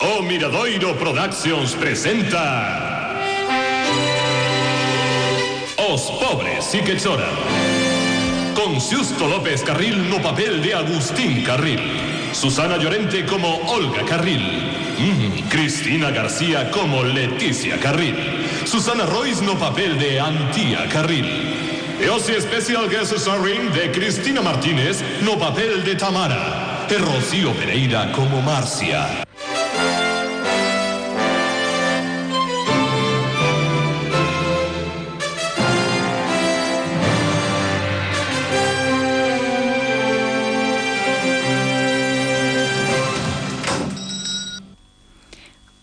O Oh, Miradoiro Productions presenta. Os pobres y que choran. Con Siusto López Carril no papel de Agustín Carril. Susana Llorente como Olga Carril. Mm, Cristina García como Leticia Carril. Susana Royce no papel de Antía Carril. Eosi Special Guest Starring de Cristina Martínez no papel de Tamara. De Rocío Pereira como Marcia.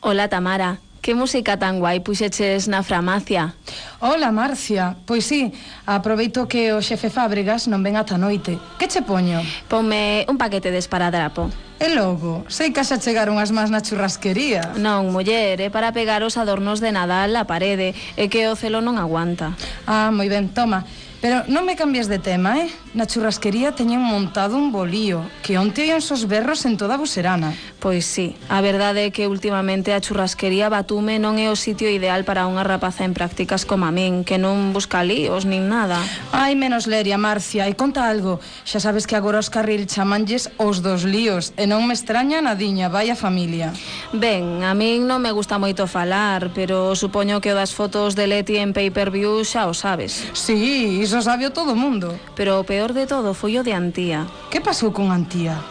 Ola, Tamara. Que música tan guai puxeches na framacia. Ola, Marcia. Pois sí, aproveito que o xefe Fábregas non ven ata noite. Que che poño? Ponme un paquete de esparadrapo. E logo, sei que xa chegaron as más na churrasquería. Non, muller, é para pegar os adornos de Nadal á parede, e que o celo non aguanta. Ah, moi ben, toma. Pero non me cambies de tema, eh? Na churrasquería teñen montado un bolío, que onte oían os berros en toda a buserana. Pois sí, a verdade é que últimamente a churrasquería Batume non é o sitio ideal para unha rapaza en prácticas como a min, que non busca líos nin nada. Ai, menos leria, Marcia, e conta algo. Xa sabes que agora os carril chamanlles os dos líos, e non me extraña nadiña, vai a familia. Ben, a min non me gusta moito falar, pero supoño que o das fotos de Leti en pay-per-view xa o sabes. Sí, iso sabio todo o mundo. Pero o peor de todo foi o de Antía. Que pasou con Antía?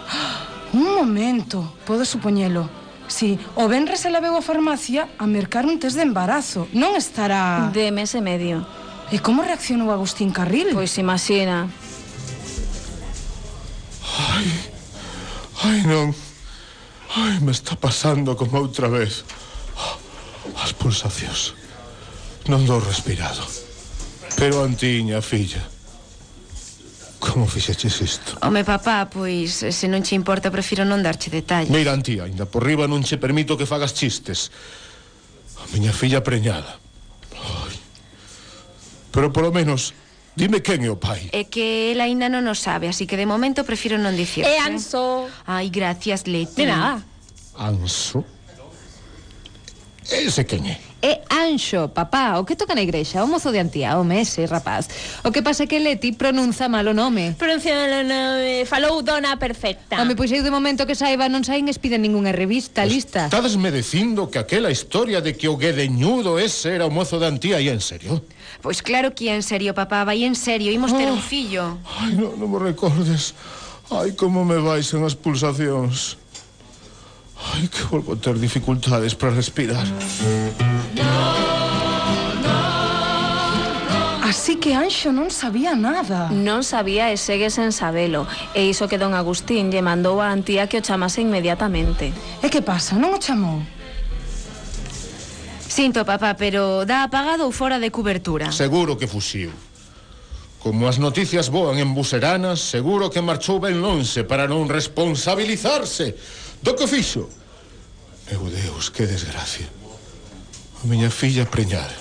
Un momento, podo supoñelo. Si, o Benres ela veu a farmacia a mercar un test de embarazo. Non estará... De mes e medio. E como reaccionou Agustín Carril? Pois imagina, Ai, non. Ai, me está pasando como outra vez. As pulsacións. Non dou respirado. Pero antiña, filla. Como fixeches isto? Home, papá, pois, se non che importa, prefiro non darche detalles. Mira, antía, ainda por riba non che permito que fagas chistes. A miña filla preñada. Ai. Pero polo menos, dime quen é o pai. É que ela aínda non o sabe, así que de momento prefiro non dicir. E Anso. Ai, gracias, Leti. De nada. Anso. Ese quen é? É Anxo, papá, o que toca na igrexa, o mozo de Antía, home ese, rapaz. O que pasa é que Leti pronunza mal o nome. Pronunciándolo nome. Falou dona perfecta. Home, pois eu de momento que saiba non saen espiden ningunha revista, lista. Estadesme dicindo que aquela historia de que o guedeñudo ese era o mozo de Antía e en serio? Pois claro que é en serio, papá, vai en serio, imos ter Oh. un fillo. Ai, non, non me recordes. Ai, como me baixan as pulsacións. Ai, que volvo a ter dificultades para respirar. Así que Anxo non sabía nada. Non sabía e segue sen sabelo, e iso que don Agustín lle mandou a Antía que o chamase inmediatamente. E que pasa? Non o chamou? Sinto, papá, pero dá apagado ou fora de cobertura. Seguro que fuxiu. Como as noticias voan en buseranas, seguro que marchou ben lonxe para non responsabilizarse do que fixo. Meu Deus, que desgracia. A miña filla preñada.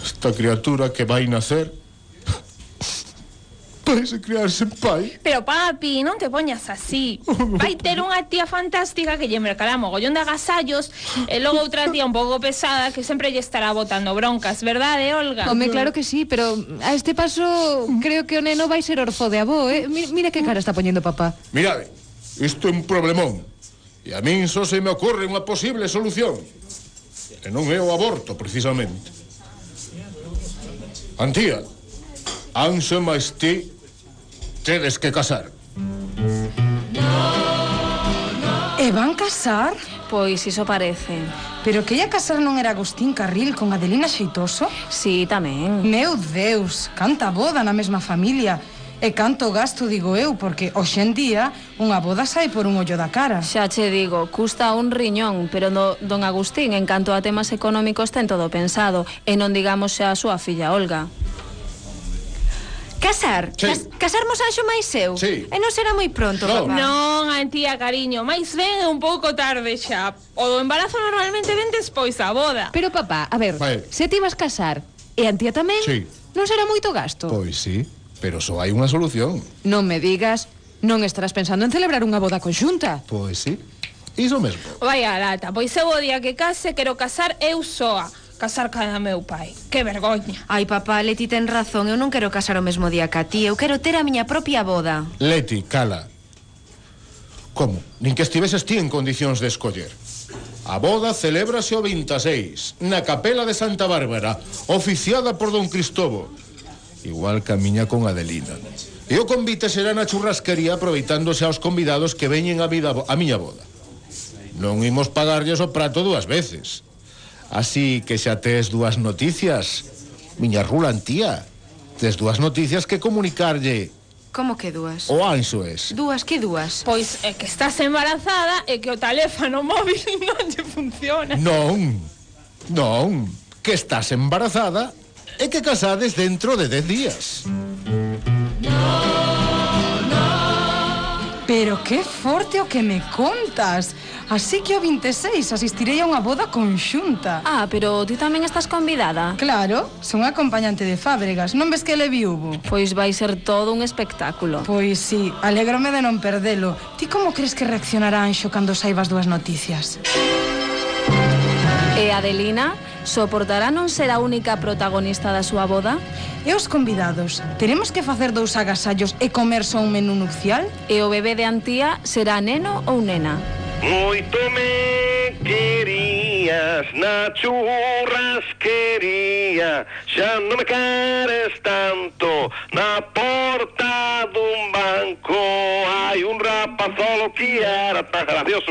Esta criatura que vai nacer parece criarse en pai. Pero papi, non te poñas así Vai ter unha tía fantástica que lle mercará mogollón de agasallos E logo outra tía un pouco pesada que sempre lle estará botando broncas, verdade, Olga? Home, claro que sí, pero a este paso creo que o neno vai ser orfo de avó, eh? Mi- Mira que cara está poñendo papá. Mirade, isto é un problemón. E a min só se me ocorre unha posible solución. E non é o aborto, precisamente. Antía, Anxo e máis ti tedes que casar. E van casar? Pois iso parece. Pero que ia casar non era Agustín Carril con Adelina Xeitoso? Sí, tamén. Meu Deus, canta boda na mesma familia. E canto gasto digo eu, porque hoxendía unha boda sai por un ollo da cara. Xa che digo, custa un riñón, pero do, don Agustín, en canto a temas económicos, ten todo pensado, e non digamos xa a súa filla Olga. Casar? Sí. Cas casarmos Anxo máis eu? Sí. E non será moi pronto, No. papá. Non, Antía, cariño, máis ben é un pouco tarde xa O do embarazo normalmente ven despois da boda Pero papá, a ver, Vai. se ti vas casar e Antía tamén, Sí. non será moito gasto. Pois sí, pero só hai unha solución. Non me digas, non estarás pensando en celebrar unha boda conxunta. Pois sí. Iso mesmo. Vai a lata, pois eu o día que case quero casar eu soa. Casar cada meu pai. Que vergoña. Ai, papá, Leti ten razón, eu non quero casar o mesmo día que a ti, eu quero ter a miña propia boda. Leti, cala. Como? Nin que estiveses ti en condicións de escoller. A boda celébrase o 26 na capela de Santa Bárbara, oficiada por don Cristobo. Igual camiña con Adelina. E o convite será na churrasquería aproveitándose aos convidados que veñen a, vida, a miña boda. Non imos pagarlles o prato dúas veces. Así que xa tes dúas noticias, miña rulantía. Tes dúas noticias que comunicarlle Como que dúas? o Anxoes. Dúas, que dúas? Pois é que estás embarazada e que o teléfono móvil non te funciona. Non, non, que estás embarazada e que casades dentro de 10 días. Pero que forte o que me contas. Así que o 26 asistirei a unha boda conxunta. Ah, pero ti tamén estás convidada. Claro, son acompañante de Fábregas, non ves que ele viubo? Pois vai ser todo un espectáculo. Pois sí, alégrome de non perdelo. Ti como crees que reaccionará Anxo cando saibas dúas noticias? E Adelina soportará non ser a única protagonista da súa boda? E os convidados, teremos que facer dous agasallos e comer só un menú nupcial? E o bebé de Antía será neno ou nena? Moito me querías na churrasquería Xa non me queres tanto Na porta dun banco Hai un rapazolo que era tan gracioso